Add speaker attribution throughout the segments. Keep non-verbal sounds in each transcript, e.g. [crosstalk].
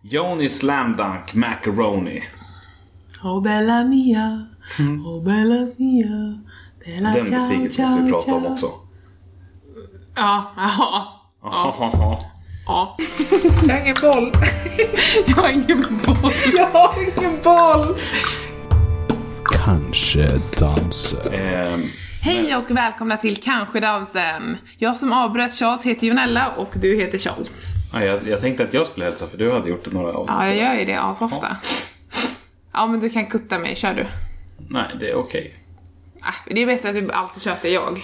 Speaker 1: Joni Slam Dunk Macaroni.
Speaker 2: Oh bella mia, oh bella mia, bella
Speaker 1: Mm. Den
Speaker 2: ciao,
Speaker 1: besvikelsen måste
Speaker 2: ciao,
Speaker 1: vi prata om
Speaker 2: ciao.
Speaker 1: också.
Speaker 2: Ja, ja,
Speaker 1: Ahahaha.
Speaker 2: ja.
Speaker 3: Jag har ingen boll.
Speaker 2: [laughs] Jag har ingen boll.
Speaker 3: Jag har ingen boll.
Speaker 4: Kanske
Speaker 1: [laughs]
Speaker 4: danser.
Speaker 1: Ehm,
Speaker 2: Hej och välkomna till Kanske Dansen. Jag som avbröt Charles heter Jonella och du heter Charles.
Speaker 1: nej, jag, jag tänkte att jag skulle hälsa för du hade gjort några avsnitt.
Speaker 2: Ja, jag gör ju det asofta. Ja, men du kan kutta mig. Kör du.
Speaker 1: Nej, det är okej.
Speaker 2: Ah, Det är bättre att du alltid tjatar jag.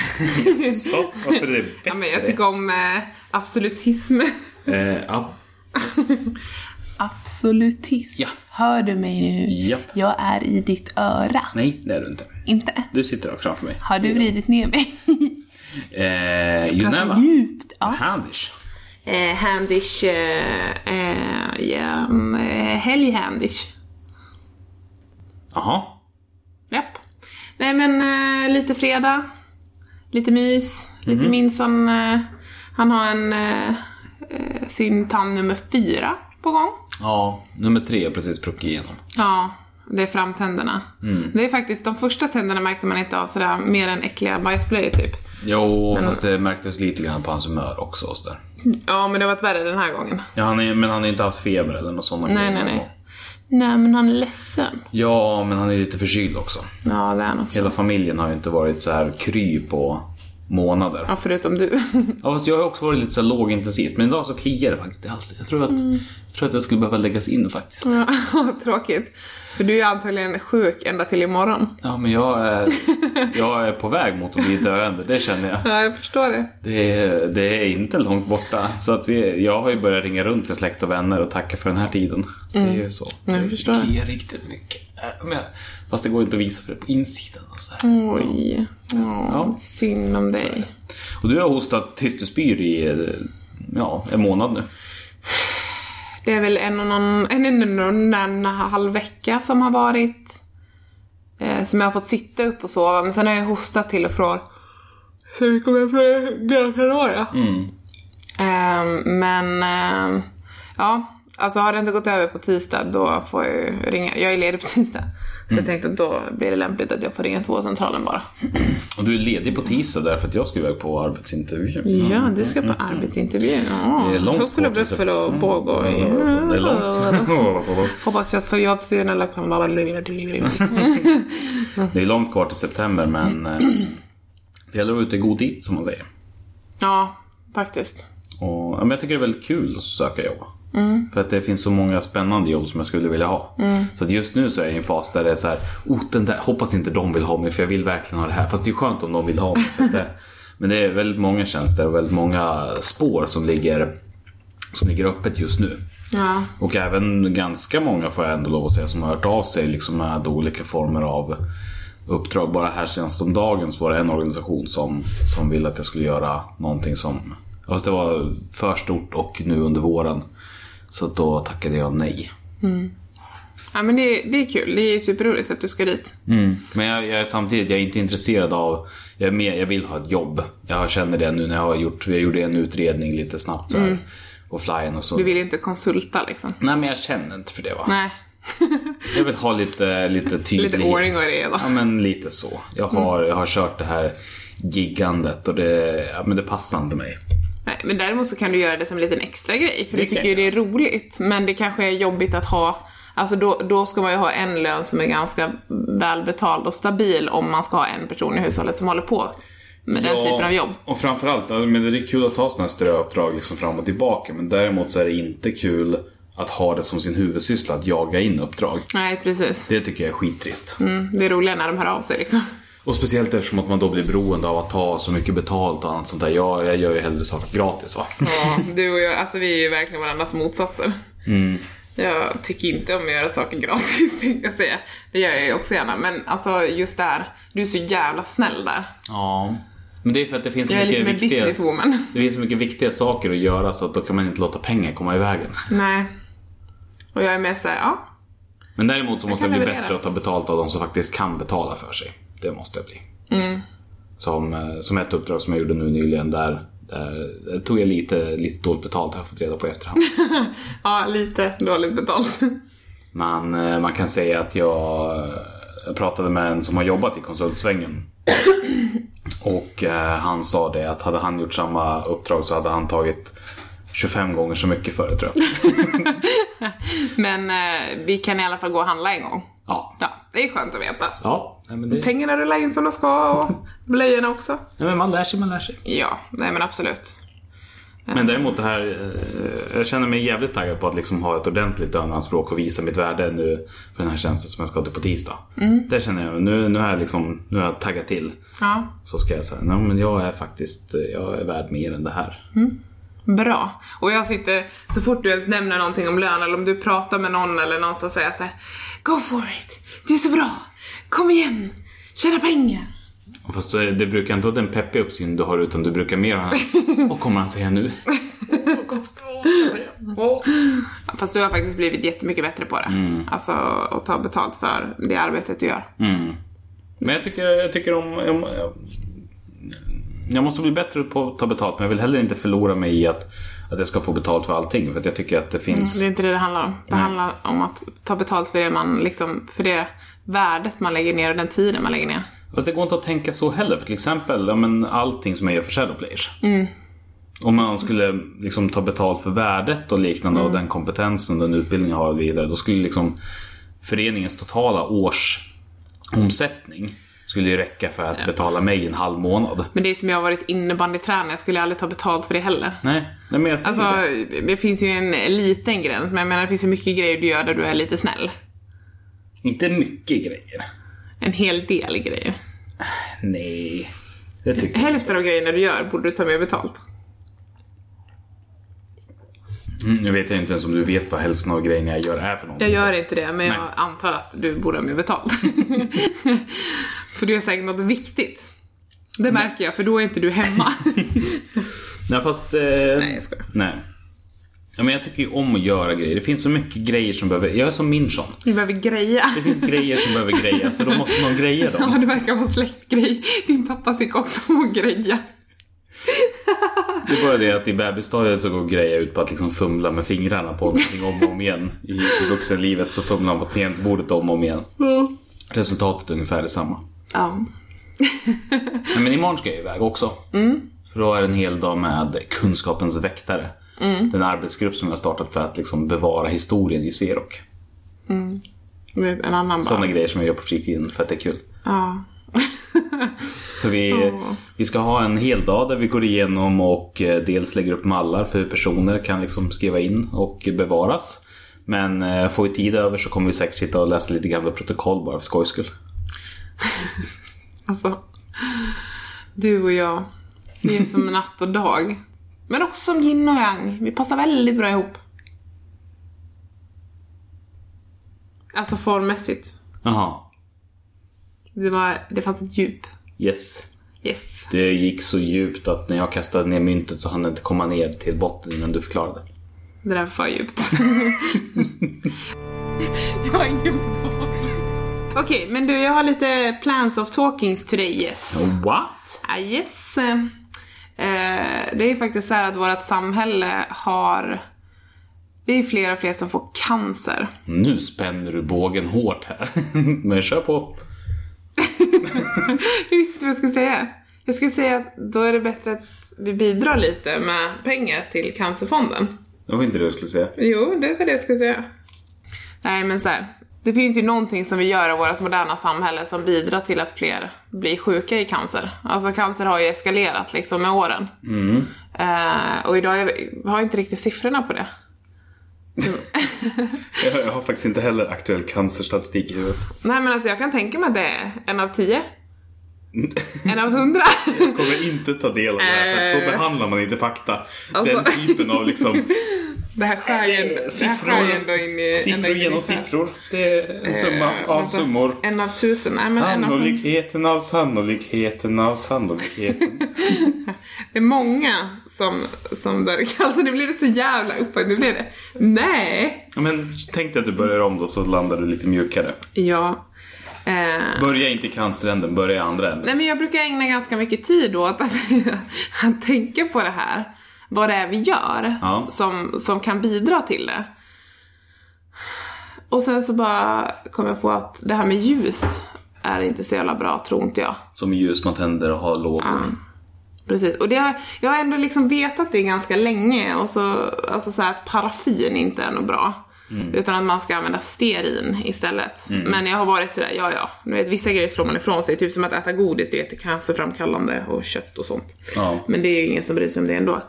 Speaker 1: [laughs] Så, varför är det bättre?
Speaker 2: Ja, men jag tycker om eh, absolutism.
Speaker 1: Eh, ja,
Speaker 2: Absolutism.
Speaker 1: Ja.
Speaker 2: Hör du mig nu?
Speaker 1: Japp.
Speaker 2: Jag är i ditt öra.
Speaker 1: nej, det är du inte.
Speaker 2: Inte?
Speaker 1: Du sitter rakt framför mig.
Speaker 2: Har du vridit ner mig?
Speaker 1: Eh,
Speaker 2: Prata
Speaker 1: Juneva.
Speaker 2: djupt. Ja.
Speaker 1: Handish.
Speaker 2: Eh, handish... Eh, eh, ja, mm, eh, helg handish.
Speaker 1: Jaha.
Speaker 2: Japp. Nej men eh, lite fredag, lite mys, lite Minson. Eh, han har en, eh, eh, sin tand nummer fyra på gång.
Speaker 1: Ja, nummer tre har precis pruckit igenom.
Speaker 2: Ja, det är framtänderna. Det är faktiskt, de första tänderna märkte man inte av sådär mer än äckliga bajsblöjor typ.
Speaker 1: Jo, fast det märktes lite grann på hans humör också. Och så där.
Speaker 2: Ja men det har varit värre den här gången.
Speaker 1: Ja, han är, men han har inte haft feber eller något sånt.
Speaker 2: Nej nej nej. Nej men han är ledsen.
Speaker 1: Ja, men han är lite förkyld också.
Speaker 2: Ja det är han också.
Speaker 1: Hela familjen har ju inte varit så här kry på månader.
Speaker 2: Ja förutom du. [laughs]
Speaker 1: Ja, fast jag har också varit lite så här lågintensivt, men idag så kliar det faktiskt i halsen. Jag tror att
Speaker 2: Mm.
Speaker 1: jag, tror att jag skulle behöva läggas in faktiskt.
Speaker 2: Ja, [laughs] Tråkigt. För du är antagligen sjuk ända till imorgon.
Speaker 1: Ja, men jag är, jag är på väg mot att bli döende, det känner jag.
Speaker 2: Ja jag förstår det.
Speaker 1: Det är, det är inte långt borta. Så att vi, jag har ju börjat ringa runt till släkt och vänner och tacka för den här tiden. Det är ju så.
Speaker 2: Mm. jag förstår det.
Speaker 1: kliar riktigt mycket. Äh, Men, fast det går ju inte att visa för det på insidan. Och, så här.
Speaker 2: Mm. Oj. Åh,
Speaker 1: Ja.
Speaker 2: Synd om dig.
Speaker 1: och du har hostat tills du spyr i eh, ja, en månad nu.
Speaker 2: Det är väl en och någon, en, en, en, en, en halv vecka som har varit. Eh, som jag har fått sitta upp och sova. Men sen har jag hostat till och från. Så vi kommer från Gran Canaria.
Speaker 1: Mm.
Speaker 2: Eh, men eh, ja, alltså har det inte gått över på tisdag då får jag ju ringa. Jag är ledig på tisdag. Så
Speaker 1: Mm.
Speaker 2: jag tänkte att då blir det lämpligt att jag får ringa tvåcentralen bara.
Speaker 1: Och du är ledig på tisdag därför att jag ska iväg på arbetsintervju.
Speaker 2: Ja, du ska på arbetsintervju. Ja,
Speaker 1: Mm. Det är långt
Speaker 2: huffel och
Speaker 1: kvar tills
Speaker 2: buffel och
Speaker 1: att-
Speaker 2: bågor.
Speaker 1: Det är långt kvar.
Speaker 2: Hoppas jag får jobb till alla kan bara
Speaker 1: Det är långt kvar till september men eh, det gäller att vara ute i god tid som man säger.
Speaker 2: Ja, faktiskt.
Speaker 1: Och, ja, men jag tycker det är väldigt kul att söka jobb. För att det finns så många spännande jobb som jag skulle vilja ha. Så att just nu så är jag i en fas där det är så här, oh, den där, hoppas inte de vill ha mig för jag vill verkligen ha det här. Fast det är skönt om de vill ha mig. För att det, men det är väldigt många tjänster och väldigt många spår som ligger, som ligger öppet just nu.
Speaker 2: Ja.
Speaker 1: Och även ganska många får jag ändå lov att säga som har hört av sig liksom med olika former av uppdrag. Bara här senast om dagen så var det en organisation som, som ville att jag skulle göra någonting som... ja, Fast det var för stort och nu under våren. Så att då tackade jag nej.
Speaker 2: ja, men det, det är kul. Det är superroligt att du ska dit.
Speaker 1: Mm. Men jag, jag är samtidigt, jag är inte intresserad av, jag, är mer, jag vill ha ett jobb. Jag känner det nu när jag har gjort, jag gjorde en utredning lite snabbt så här, på flyen och så.
Speaker 2: Mm. Du vill inte konsulta liksom.
Speaker 1: Nej men jag känner inte för det va.
Speaker 2: Nej,
Speaker 1: Jag vill ha lite, lite tydlighet.
Speaker 2: lite ordning och reda. Mm.
Speaker 1: Ja men lite så. Jag har, jag har kört det här giggandet och det, ja, men det passar inte mig.
Speaker 2: Nej, men däremot så kan du göra det som en liten extra grej. För
Speaker 1: Det
Speaker 2: du tycker
Speaker 1: kan
Speaker 2: ju
Speaker 1: jag
Speaker 2: det är roligt. Men det kanske är jobbigt att ha Alltså då, då ska man ju ha en lön som är ganska välbetald och stabil om man ska ha en person i hushållet som håller på med den typen av jobb.
Speaker 1: Och framförallt, ja, men det är kul att ta sådana här ströuppdrag liksom fram och tillbaka. Men däremot så är det inte kul att ha det som sin huvudsyssla, att jaga in uppdrag.
Speaker 2: Nej, precis.
Speaker 1: Det tycker jag är skittrist.
Speaker 2: Mm, det är roligare när de hör av sig liksom.
Speaker 1: Och speciellt eftersom att man då blir beroende av att ta så mycket betalt och annat sånt där. Jag, jag gör ju hellre saker gratis va.
Speaker 2: Ja, du och jag, alltså vi är ju verkligen varandras motsatser. Jag tycker inte om att göra saker gratis [laughs] tänkte jag säga. Det gör jag ju också gärna. Men alltså just där, du är så jävla snäll där.
Speaker 1: Ja. Men det är för att det finns så
Speaker 2: Jag är
Speaker 1: mycket
Speaker 2: lite mer
Speaker 1: viktiga...
Speaker 2: businesswoman.
Speaker 1: Det finns så mycket viktiga saker att göra så att då kan man inte låta pengar komma i vägen.
Speaker 2: Nej. Och jag är mer såhär, ja.
Speaker 1: Men däremot så måste
Speaker 2: kan
Speaker 1: jag bli
Speaker 2: leverera.
Speaker 1: bättre att ta betalt av de som faktiskt kan
Speaker 2: Mm.
Speaker 1: betala för sig. Det måste jag bli. Som, eh, som ett uppdrag som jag gjorde nu nyligen där Där, där tog jag lite, lite dåligt betalt, har jag fått reda på i
Speaker 2: [laughs]
Speaker 1: efterhand.
Speaker 2: Ja, lite dåligt betalt. [laughs]
Speaker 1: Men eh, man kan säga att jag eh, pratade med en som har jobbat i konsultsvängen. Och eh, han sa det att hade han gjort samma uppdrag så hade han tagit 25 gånger så mycket för det tror jag.
Speaker 2: Men eh, vi kan i alla fall gå och handla en gång.
Speaker 1: Ja.
Speaker 2: Ja, det är skönt att veta.
Speaker 1: Ja, nej, men, det,
Speaker 2: Pengarna rullar in som de ska och blöjorna också.
Speaker 1: nej, men man lär sig, man lär sig.
Speaker 2: Ja, nej men absolut.
Speaker 1: Men däremot det här, eh, jag känner mig jävligt taggad på att liksom ha ett ordentligt löneanspråk och visa mitt värde nu för den här tjänsten som jag ska till på tisdag. Det känner jag, nu, nu har jag liksom, nu har jag taggat till.
Speaker 2: Ja,
Speaker 1: Så ska jag säga, nej men jag är faktiskt, eh, jag är värd mer än det här.
Speaker 2: bra. Och jag sitter, så fort du ens nämner någonting om lön eller om du pratar med någon eller någon så säger jag så här, Go for it! Du är så bra! Kom igen! Tjäna pengar!
Speaker 1: Fast så är- det brukar inte vara den peppiga uppsyn du har utan du brukar mer ha Vad kommer han säga nu?
Speaker 2: Fast du har faktiskt blivit jättemycket bättre på det. Alltså att ta betalt för det arbetet du gör.
Speaker 1: Men jag tycker, jag tycker om... om jag måste bli bättre på att ta betalt men jag vill heller inte förlora mig i att, att jag ska få betalt för allting för att jag tycker att det finns...
Speaker 2: Det är inte det det handlar om. Det
Speaker 1: Nej.
Speaker 2: handlar om att ta betalt för det man liksom, för det värdet man lägger ner och den tiden man lägger ner.
Speaker 1: Fast det går inte att tänka så heller. För till exempel ja, men allting som jag gör för Shadowplayers.
Speaker 2: Mm.
Speaker 1: Om man skulle liksom ta betalt för värdet och liknande
Speaker 2: Mm.
Speaker 1: och den kompetensen och den utbildning jag har och vidare. Då skulle liksom föreningens totala årsomsättning skulle ju räcka för att betala mig en halv månad.
Speaker 2: Men det är som jag har varit innebandytränare, jag skulle aldrig ta betalt för det heller.
Speaker 1: Nej, nej men jag säger
Speaker 2: Alltså,
Speaker 1: det.
Speaker 2: det finns ju en liten gräns, men jag menar det finns ju mycket grejer du gör där du är lite snäll.
Speaker 1: Inte mycket grejer.
Speaker 2: En hel del grejer.
Speaker 1: Nej, det
Speaker 2: [clears throat]
Speaker 1: tycker jag
Speaker 2: Hälften av grejerna du gör borde du ta mer betalt.
Speaker 1: Mm, Nu vet jag inte ens om du vet vad hälften av grejerna jag gör är för någonting.
Speaker 2: Jag
Speaker 1: så-
Speaker 2: gör inte det, men jag
Speaker 1: Nej.
Speaker 2: antar att du borde ha mer betalt. [laughs] för du gör säkert något viktigt. Det märker jag, för då är inte du hemma.
Speaker 1: Nej fast... Eh,
Speaker 2: [laughs] Nej, jag skojar.
Speaker 1: Nej. Ja, men jag tycker ju om att göra grejer. Det finns så mycket grejer som behöver... Jag är som Minchon.
Speaker 2: Du behöver greja.
Speaker 1: Det finns grejer som behöver grejas så då måste man greja
Speaker 2: [laughs] Ja,
Speaker 1: dem.
Speaker 2: det verkar vara släktgrej. Din pappa tycker också om att greja.
Speaker 1: Det är bara det att i bebisstadiet så går greja ut på att liksom fumla med fingrarna på någonting om och om igen. I vuxenlivet så fumlar man på tangentbordet om och om igen. Resultatet är ungefär detsamma.
Speaker 2: Ja.
Speaker 1: Nej, Men imorgon ska jag iväg också. För då är det en hel dag med Kunskapens väktare. Den arbetsgrupp som jag har startat för att liksom bevara historien i Sverok.
Speaker 2: Med en annan bara.
Speaker 1: Sådana grejer som jag gör på fritiden för att det är kul.
Speaker 2: Ja.
Speaker 1: Så vi,
Speaker 2: Ja.
Speaker 1: vi ska ha en hel dag där vi går igenom och eh, dels lägger upp mallar för hur personer kan liksom skriva in och bevaras. Men eh, får vi tid över så kommer vi säkert sitta och läsa lite gamla protokoll bara för skojs skull.
Speaker 2: Alltså, du och jag, vi är som natt och dag. Men också som yin och yang. Vi passar väldigt bra ihop. Alltså formmässigt.
Speaker 1: Jaha,
Speaker 2: Det, var, det fanns ett djup.
Speaker 1: yes.
Speaker 2: Yes.
Speaker 1: Det gick så djupt att när jag kastade ner myntet så hann det inte komma ner till botten innan du förklarade.
Speaker 2: Det där var för djupt. [laughs] jag har ingen boll. Okej, men du, jag har lite plans of talkings today, yes.
Speaker 1: What?
Speaker 2: Ah, yes. Eh, det är faktiskt så här att vårt samhälle har... Det är fler och fler som får cancer. [laughs]
Speaker 1: Nu spänner du bågen hårt här. [laughs] Men kör på.
Speaker 2: Jag visste inte vad jag skulle säga. Jag skulle säga att då är det bättre att vi bidrar lite med pengar till Cancerfonden.
Speaker 1: Det var inte det jag skulle säga.
Speaker 2: Jo, det var det jag skulle säga. Nej, men så här. Det finns ju någonting som vi gör i vårt moderna samhälle som bidrar till att fler blir sjuka i cancer. Alltså cancer har ju eskalerat liksom med åren. Eh, och idag är, jag har inte riktigt siffrorna på det.
Speaker 1: Jag har faktiskt inte heller aktuell cancerstatistik i huvudet.
Speaker 2: Nej men alltså jag kan tänka mig att det är en av tio.
Speaker 1: [laughs]
Speaker 2: En av hundra.
Speaker 1: kommer inte ta del av det här för att så
Speaker 2: Eh.
Speaker 1: behandlar man inte fakta.
Speaker 2: Alltså-
Speaker 1: Den typen av liksom
Speaker 2: [laughs] Det här skär ju ändå- det här skär ju ändå in i... ända
Speaker 1: siffror
Speaker 2: in i
Speaker 1: genom
Speaker 2: det här.
Speaker 1: siffror. Det är en summa
Speaker 2: Eh,
Speaker 1: av
Speaker 2: vänta.
Speaker 1: summor.
Speaker 2: En av tusen. Nej men en av hundra.
Speaker 1: Sannolikheten av sannolikheten av sannolikheten.
Speaker 2: Det är många som, som dör i [laughs] cancer. Nu blir det så jävla upphöjt. Nu blir det... Nej!
Speaker 1: Ja, Men tänk dig att du börjar om då så landar du lite mjukare.
Speaker 2: Ja. Eh,
Speaker 1: Börja inte i canceränden, börja i andra änden.
Speaker 2: Nej men jag brukar ägna ganska mycket tid åt att, [laughs] att tänka på det här. Vad det är vi gör
Speaker 1: Ja.
Speaker 2: som, som kan bidra till det. Och sen så bara kom jag på att det här med ljus är inte så jävla bra, tror inte jag.
Speaker 1: Som ljus man tänder och har lågor.
Speaker 2: Ah. Precis, och det har, jag har ändå liksom vetat det ganska länge och så, alltså så här att paraffin inte är något bra. Utan att man ska använda stearin istället. Men jag har varit sådär, ja ja, nu vet, vissa grejer slår man ifrån sig. Typ som att äta godis, det är jättecancerframkallande och kött och sånt.
Speaker 1: Ja.
Speaker 2: Men det är ju ingen som bryr sig om det ändå.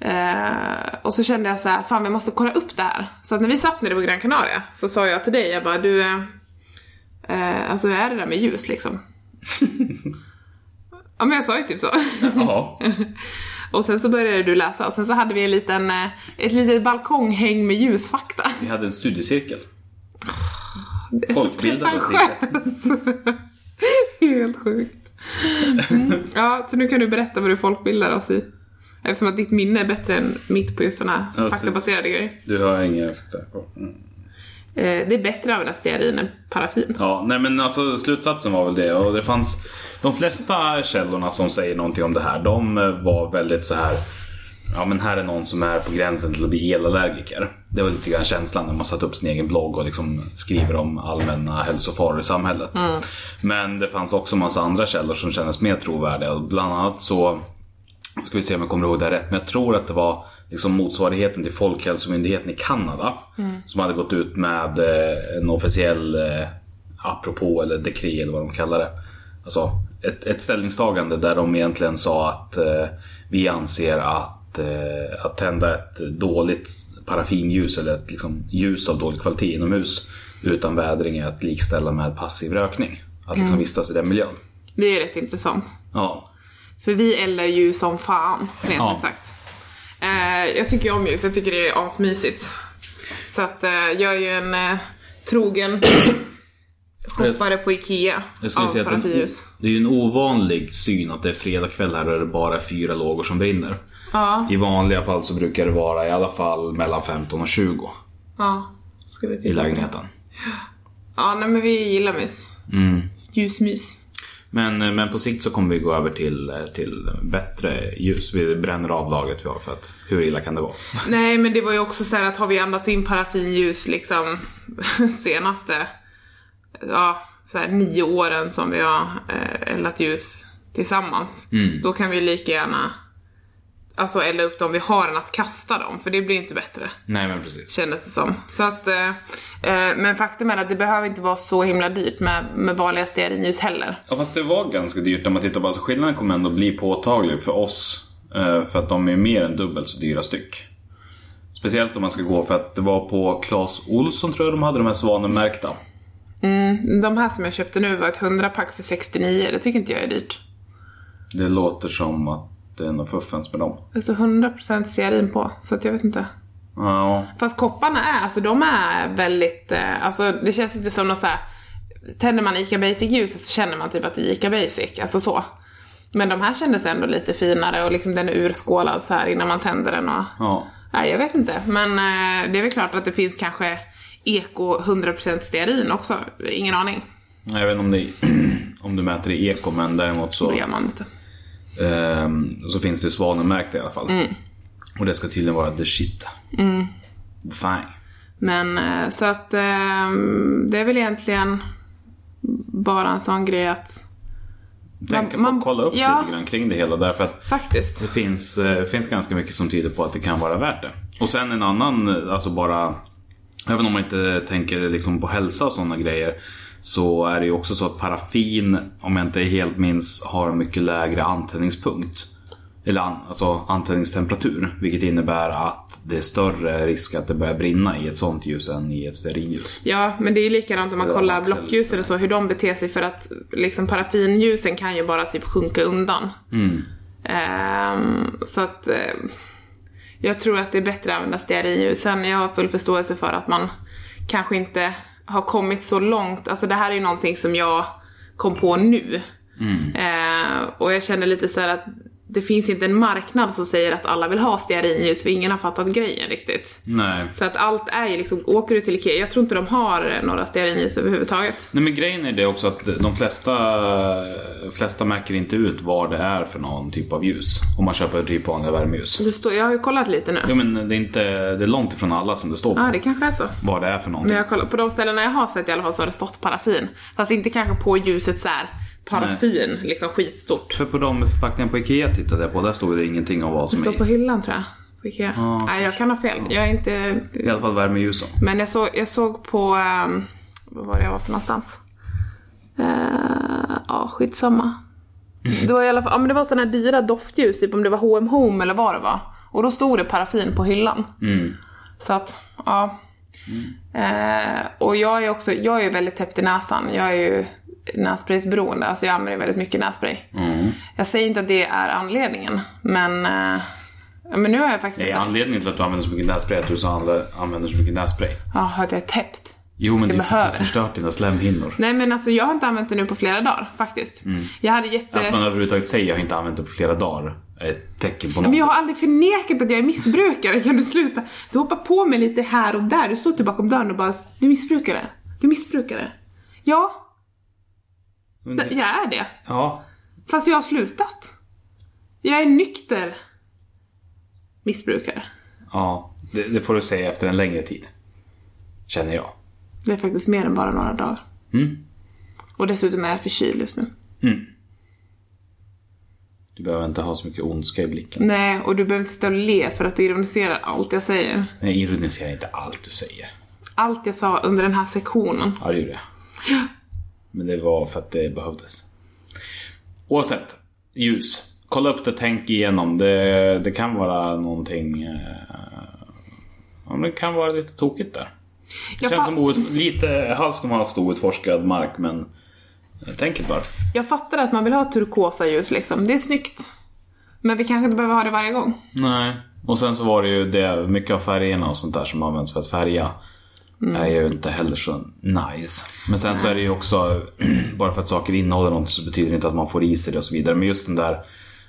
Speaker 2: Eh, och så kände jag så här, fan vi måste kolla upp det här. Så att när vi satt nere på Gran Canaria så sa jag till dig, jag bara du, eh, eh, alltså hur är det där med ljus liksom? ja men jag sa ju typ så.
Speaker 1: Ja.
Speaker 2: Och sen så började du läsa och sen så hade vi en liten, eh, ett litet balkonghäng med ljusfakta.
Speaker 1: Vi hade en studiecirkel.
Speaker 2: Det är så
Speaker 1: Folkbildande
Speaker 2: pretentiöst. [laughs] Helt sjukt. Mm. Ja, så nu kan du berätta vad du folkbildar oss i. Eftersom att ditt minne är bättre än mitt på just sådana här
Speaker 1: Alltså-
Speaker 2: faktabaserade grejer.
Speaker 1: Du har inga fakta på. Mm.
Speaker 2: Eh, det är bättre att använda stearin än paraffin.
Speaker 1: Ja, nej men alltså slutsatsen var väl det. Och det fanns, de flesta källorna som säger någonting om det här, de eh, var väldigt så här. Ja men här är någon som är på gränsen till att bli elallergiker. Det var lite grann känslan när man satte upp sin egen blogg och liksom skriver om allmänna hälsofaror i samhället. Men det fanns också massa andra källor som kändes mer trovärdiga. Och Bland annat så ska vi se om jag kommer ihåg det här rätt, men jag tror att det var liksom motsvarigheten till Folkhälsomyndigheten i Kanada som hade gått ut med eh, en officiell eh, apropå eller dekret eller vad de kallar det. Alltså ett, ett ställningstagande där de egentligen sa att eh, vi anser att, eh, att tända ett dåligt paraffinljus eller ett liksom, ljus av dålig kvalitet inomhus utan vädring är att likställa med passiv rökning. Att liksom vistas i den miljön.
Speaker 2: Det är rätt intressant.
Speaker 1: Ja,
Speaker 2: För vi eldar ju som fan, rent
Speaker 1: Ja.
Speaker 2: ut sagt. Eh, jag tycker ju om ljus, jag tycker det är asmysigt. Så att eh, jag är ju en eh, trogen shoppare på IKEA
Speaker 1: Jag skulle
Speaker 2: av
Speaker 1: säga att den,
Speaker 2: paraffinljus.
Speaker 1: det är ju en ovanlig syn att det är fredagkväll här och det är bara fyra lågor som brinner.
Speaker 2: Ja,
Speaker 1: I vanliga fall så brukar det vara i alla fall mellan 15 och 20
Speaker 2: ja. Ska vi
Speaker 1: i
Speaker 2: titta.
Speaker 1: lägenheten. Mm.
Speaker 2: Ja, nej men vi gillar mys. Ljusmys.
Speaker 1: Men, eh, men på sikt så kommer vi gå över till, eh, till bättre ljus. Vi bränner av lagret vi har för att hur illa kan det vara?
Speaker 2: Nej men det var ju också så här att har vi andat in paraffinljus liksom [laughs] senaste ja, så här nio åren som vi har eh, eldat ljus tillsammans. Då kan vi lika gärna alltså elda upp dem vi har än att kasta dem för det blir inte bättre
Speaker 1: Nej men precis.
Speaker 2: kändes det som. Så att, eh, eh, men faktum är att det behöver inte vara så himla dyrt med, med vanliga stearinljus heller.
Speaker 1: Ja fast det var ganska dyrt när man tittar på alltså skillnaden kommer ändå bli påtaglig för oss. eh, För att de är mer än dubbelt så dyra styck. Speciellt om man ska gå för att det var på Clas Olsson tror jag de hade de här svanenmärkta.
Speaker 2: De här som jag köpte nu var ett 100-pack för 69, det tycker inte jag är dyrt.
Speaker 1: Det låter som att det är något fuffens med dem.
Speaker 2: Det står 100% Alltså stearin på, så att jag vet inte.
Speaker 1: Ja,
Speaker 2: Fast kopparna är, alltså de är väldigt, eh, alltså det känns inte som något såhär, tänder man ICA Basic-ljuset så känner man typ att det är ICA Basic, alltså så. Men de här kändes ändå lite finare och liksom den är urskålad så här innan man tänder den och,
Speaker 1: ja.
Speaker 2: nej jag vet inte. Men eh, det är väl klart att det finns kanske eko 100% stearin också, ingen aning.
Speaker 1: Jag vet inte om, det är, [clears throat] om du mäter i eko, men däremot så,
Speaker 2: Det gör man inte.
Speaker 1: ehm, så finns det svanenmärkt i alla fall. Och det ska tydligen vara the shit. Fine.
Speaker 2: Men eh, så att eh, det är väl egentligen bara en sån grej att,
Speaker 1: Tänk på
Speaker 2: man-
Speaker 1: att kolla upp
Speaker 2: ja.
Speaker 1: lite grann kring det hela därför att
Speaker 2: faktiskt.
Speaker 1: Det finns, eh, finns ganska mycket som tyder på att det kan vara värt det. Och sen en annan, eh, alltså bara... Även om man inte tänker liksom på hälsa och sådana grejer. Så är det ju också så att paraffin, om jag inte helt minns, har en mycket lägre antändningspunkt. Eller an, alltså antändningstemperatur. Vilket innebär att det är större risk att det börjar brinna i ett sånt ljus än i ett stearinljus.
Speaker 2: Ja, men det är ju likadant om man
Speaker 1: Eller
Speaker 2: kollar
Speaker 1: axel-
Speaker 2: blockljus eller så, hur de beter sig för att liksom paraffinljusen kan ju bara typ sjunka undan. Ehm, så att eh, jag tror att det är bättre att använda stearinljusen. Jag har full förståelse för att man kanske inte har kommit så långt. Alltså det här är ju Ehm, någonting som jag kom på nu. Eh, och jag känner lite så här att det finns inte en marknad som säger att alla vill ha stearinljus för ingen har fattat grejen riktigt.
Speaker 1: Nej.
Speaker 2: Så att allt är ju liksom, åker du till Ikea, jag tror inte de har eh, några stearinljus överhuvudtaget.
Speaker 1: Nej men grejen är det också att de flesta, flesta märker inte ut vad det är för någon typ av ljus. Om man köper typ vanliga värmeljus.
Speaker 2: Det står, jag har ju kollat lite nu.
Speaker 1: Jo men det är, inte, det är långt ifrån alla som det står på.
Speaker 2: Ja, det kanske är så.
Speaker 1: Vad det är för någonting.
Speaker 2: Men jag kollar, på de ställena jag har sett i alla fall så har det stått paraffin. Fast inte kanske på ljuset så här paraffin, liksom skitstort.
Speaker 1: För på de förpackningarna på Ikea tittade jag på, där stod det ingenting om vad
Speaker 2: Det
Speaker 1: som
Speaker 2: står
Speaker 1: är
Speaker 2: på
Speaker 1: i.
Speaker 2: hyllan tror jag. På Ikea.
Speaker 1: Ja,
Speaker 2: Nej, jag kan ha fel. Jag är inte...
Speaker 1: I alla fall värmeljusen.
Speaker 2: Men jag såg, jag såg på... ehm, vad var det jag var för någonstans? Eh, ja, skitsamma.
Speaker 1: Mm.
Speaker 2: Det var i alla fall, ja men det var sådana här dyra doftljus, typ om det var H&M Home eller vad det var. Och då stod det paraffin på hyllan.
Speaker 1: Mm.
Speaker 2: Så att, ja. Eh, och jag är också, jag är ju väldigt täppt i näsan. Jag är ju nässpraysberoende, alltså jag använder väldigt mycket nässpray.
Speaker 1: Mm.
Speaker 2: Jag säger inte att det är anledningen, men, eh, ja, men nu har jag faktiskt
Speaker 1: Det är
Speaker 2: inte...
Speaker 1: anledningen till att du använder så mycket nässpray att du så anle- använder så mycket nässpray.
Speaker 2: Ja, att jag är täppt.
Speaker 1: Jo men det är för att
Speaker 2: behöver.
Speaker 1: du har förstört dina slemhinnor.
Speaker 2: Nej men alltså jag har inte använt det nu på flera dagar faktiskt. Jag hade jätte...
Speaker 1: Att Mm. man överhuvudtaget säger jag har inte använt det på flera dagar är ett tecken på något.
Speaker 2: Men jag har aldrig förnekat att jag är missbrukare, kan du sluta? Du hoppar på mig lite här och där, du står typ bakom dörren och bara Du är missbrukare, du är missbrukare. Ja,
Speaker 1: Men
Speaker 2: d-
Speaker 1: det-
Speaker 2: jag är det.
Speaker 1: Ja.
Speaker 2: Fast jag har slutat. Jag är nykter missbrukare.
Speaker 1: ja. Det, det får du säga efter en längre tid. Känner jag.
Speaker 2: Det är faktiskt mer än bara några dagar.
Speaker 1: Mm.
Speaker 2: Och dessutom är jag förkyld just nu.
Speaker 1: Du behöver inte ha så mycket ondska i blicken.
Speaker 2: Nej, och du behöver inte sitta och le för att du ironiserar allt jag säger.
Speaker 1: Nej, ironisera inte allt du säger.
Speaker 2: Allt jag sa under den här sektionen.
Speaker 1: Ja, det gjorde jag. Men det var för att det behövdes. Oavsett, ljus. Kolla upp det, tänk igenom. Det, det kan vara någonting... Eh, ja, men det kan vara lite tokigt där. Det
Speaker 2: Jag,
Speaker 1: känns
Speaker 2: fa-
Speaker 1: som outf- lite halvt om halvt outforskad mark, men eh, tänk ett varv.
Speaker 2: jag fattar att man vill ha turkosa ljus liksom. Det är snyggt. Men vi kanske inte behöver ha det varje gång.
Speaker 1: Nej. Och sen så var det ju det, mycket av färgerna och sånt där som används för att färga är ju inte heller så nice. Men sen så är det ju också, [clears throat] bara för att saker innehåller något så betyder det inte att man får i sig det och så vidare. Men just den där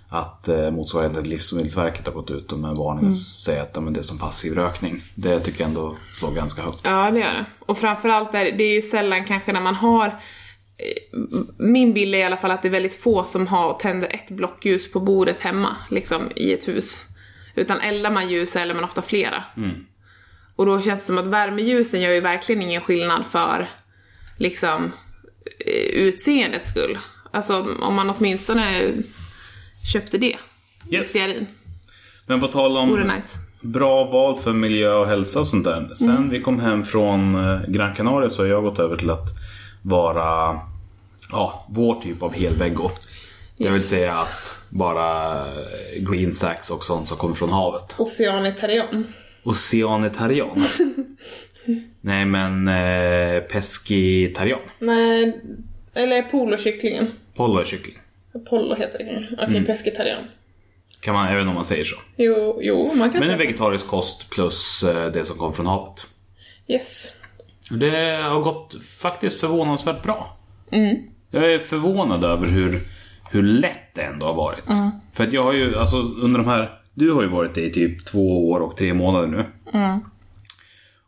Speaker 1: att eh, motsvarigheten till Livsmedelsverket har gått ut och med en varning och säger att ja, men det är som passiv rökning. Det tycker jag ändå slår ganska högt.
Speaker 2: Ja, det gör det. Och framförallt är det är ju sällan kanske när man har eh, min bild är i alla fall att det är väldigt få som har, tänder ett blockljus på bordet hemma, liksom i ett hus. Utan eldar man ljus så eldar man ofta flera. Och då känns det som att värmeljusen gör ju verkligen ingen skillnad för liksom eh, utseendets skull. Alltså om man åtminstone köpte det.
Speaker 1: Yes.
Speaker 2: Stearin.
Speaker 1: Men på tal om
Speaker 2: Vore nice.
Speaker 1: bra val för miljö och hälsa och sånt där. Sen vi kom hem från eh, Gran Canaria så har jag gått över till att vara ja, vår typ av helvego. Det vill
Speaker 2: Yes.
Speaker 1: säga att bara eh, green sacks och sånt som kommer från havet.
Speaker 2: Oceanitarian.
Speaker 1: Oceanitarian. Nej men eh, pescitarian.
Speaker 2: Nej, eller polokycklingen.
Speaker 1: Pollo är kyckling.
Speaker 2: Apollo heter det kanske. Okej,
Speaker 1: Mm.
Speaker 2: pescetarian.
Speaker 1: Kan man, även om man säger så.
Speaker 2: Jo, jo, man kan
Speaker 1: Men en
Speaker 2: säga
Speaker 1: vegetarisk kost plus eh, det som kommer från havet.
Speaker 2: så. Yes.
Speaker 1: Det har gått faktiskt förvånansvärt bra. Jag är förvånad över hur, hur lätt det ändå har varit. För att jag har ju, alltså under de här, du har ju varit det i typ två år och tre månader nu.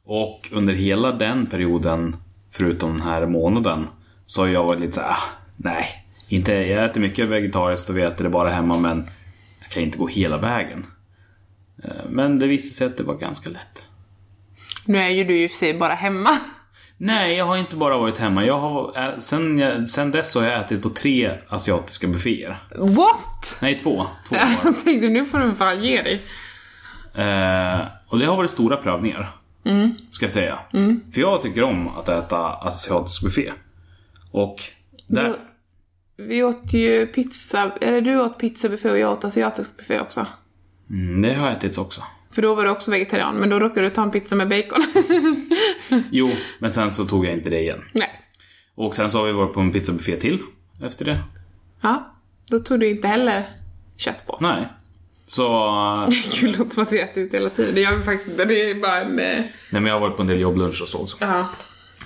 Speaker 1: Och under hela den perioden, förutom den här månaden, så har jag varit lite såhär, ah, nej. Inte, jag äter mycket vegetariskt och vi äter det bara hemma men jag kan inte gå hela vägen. Eh, Men det visade sig att det var ganska lätt.
Speaker 2: Nu är ju du i och för sig bara hemma.
Speaker 1: Nej, jag har inte bara varit hemma. Jag har, ä- sen, jag, sen dess så har jag ätit på tre asiatiska bufféer.
Speaker 2: What?
Speaker 1: Nej, två. två var.
Speaker 2: [laughs] Jag tänkte nu får du fan ge dig. [laughs]
Speaker 1: eh, och det har varit stora prövningar.
Speaker 2: Mm.
Speaker 1: Ska jag säga. För jag tycker om att äta asiatisk buffé. Och där...
Speaker 2: Jo. Vi åt ju pizza, eller du åt pizzabuffé och jag åt asiatisk buffé också.
Speaker 1: Mm, det har ätits också.
Speaker 2: För då var du också vegetarian, men då råkade du ta en pizza med bacon. [laughs]
Speaker 1: Jo, men sen så tog jag inte det igen.
Speaker 2: Nej.
Speaker 1: Och sen så har vi varit på en pizzabuffé till efter det.
Speaker 2: Ja, då tog du inte heller kött på.
Speaker 1: Nej. Så... eh,
Speaker 2: [laughs] Gud, det låter som att vi äter ut hela tiden. Det gör vi faktiskt inte. Det är bara en... eh,
Speaker 1: Nej, men jag har varit på en del jobbluncher och så också.
Speaker 2: Ja.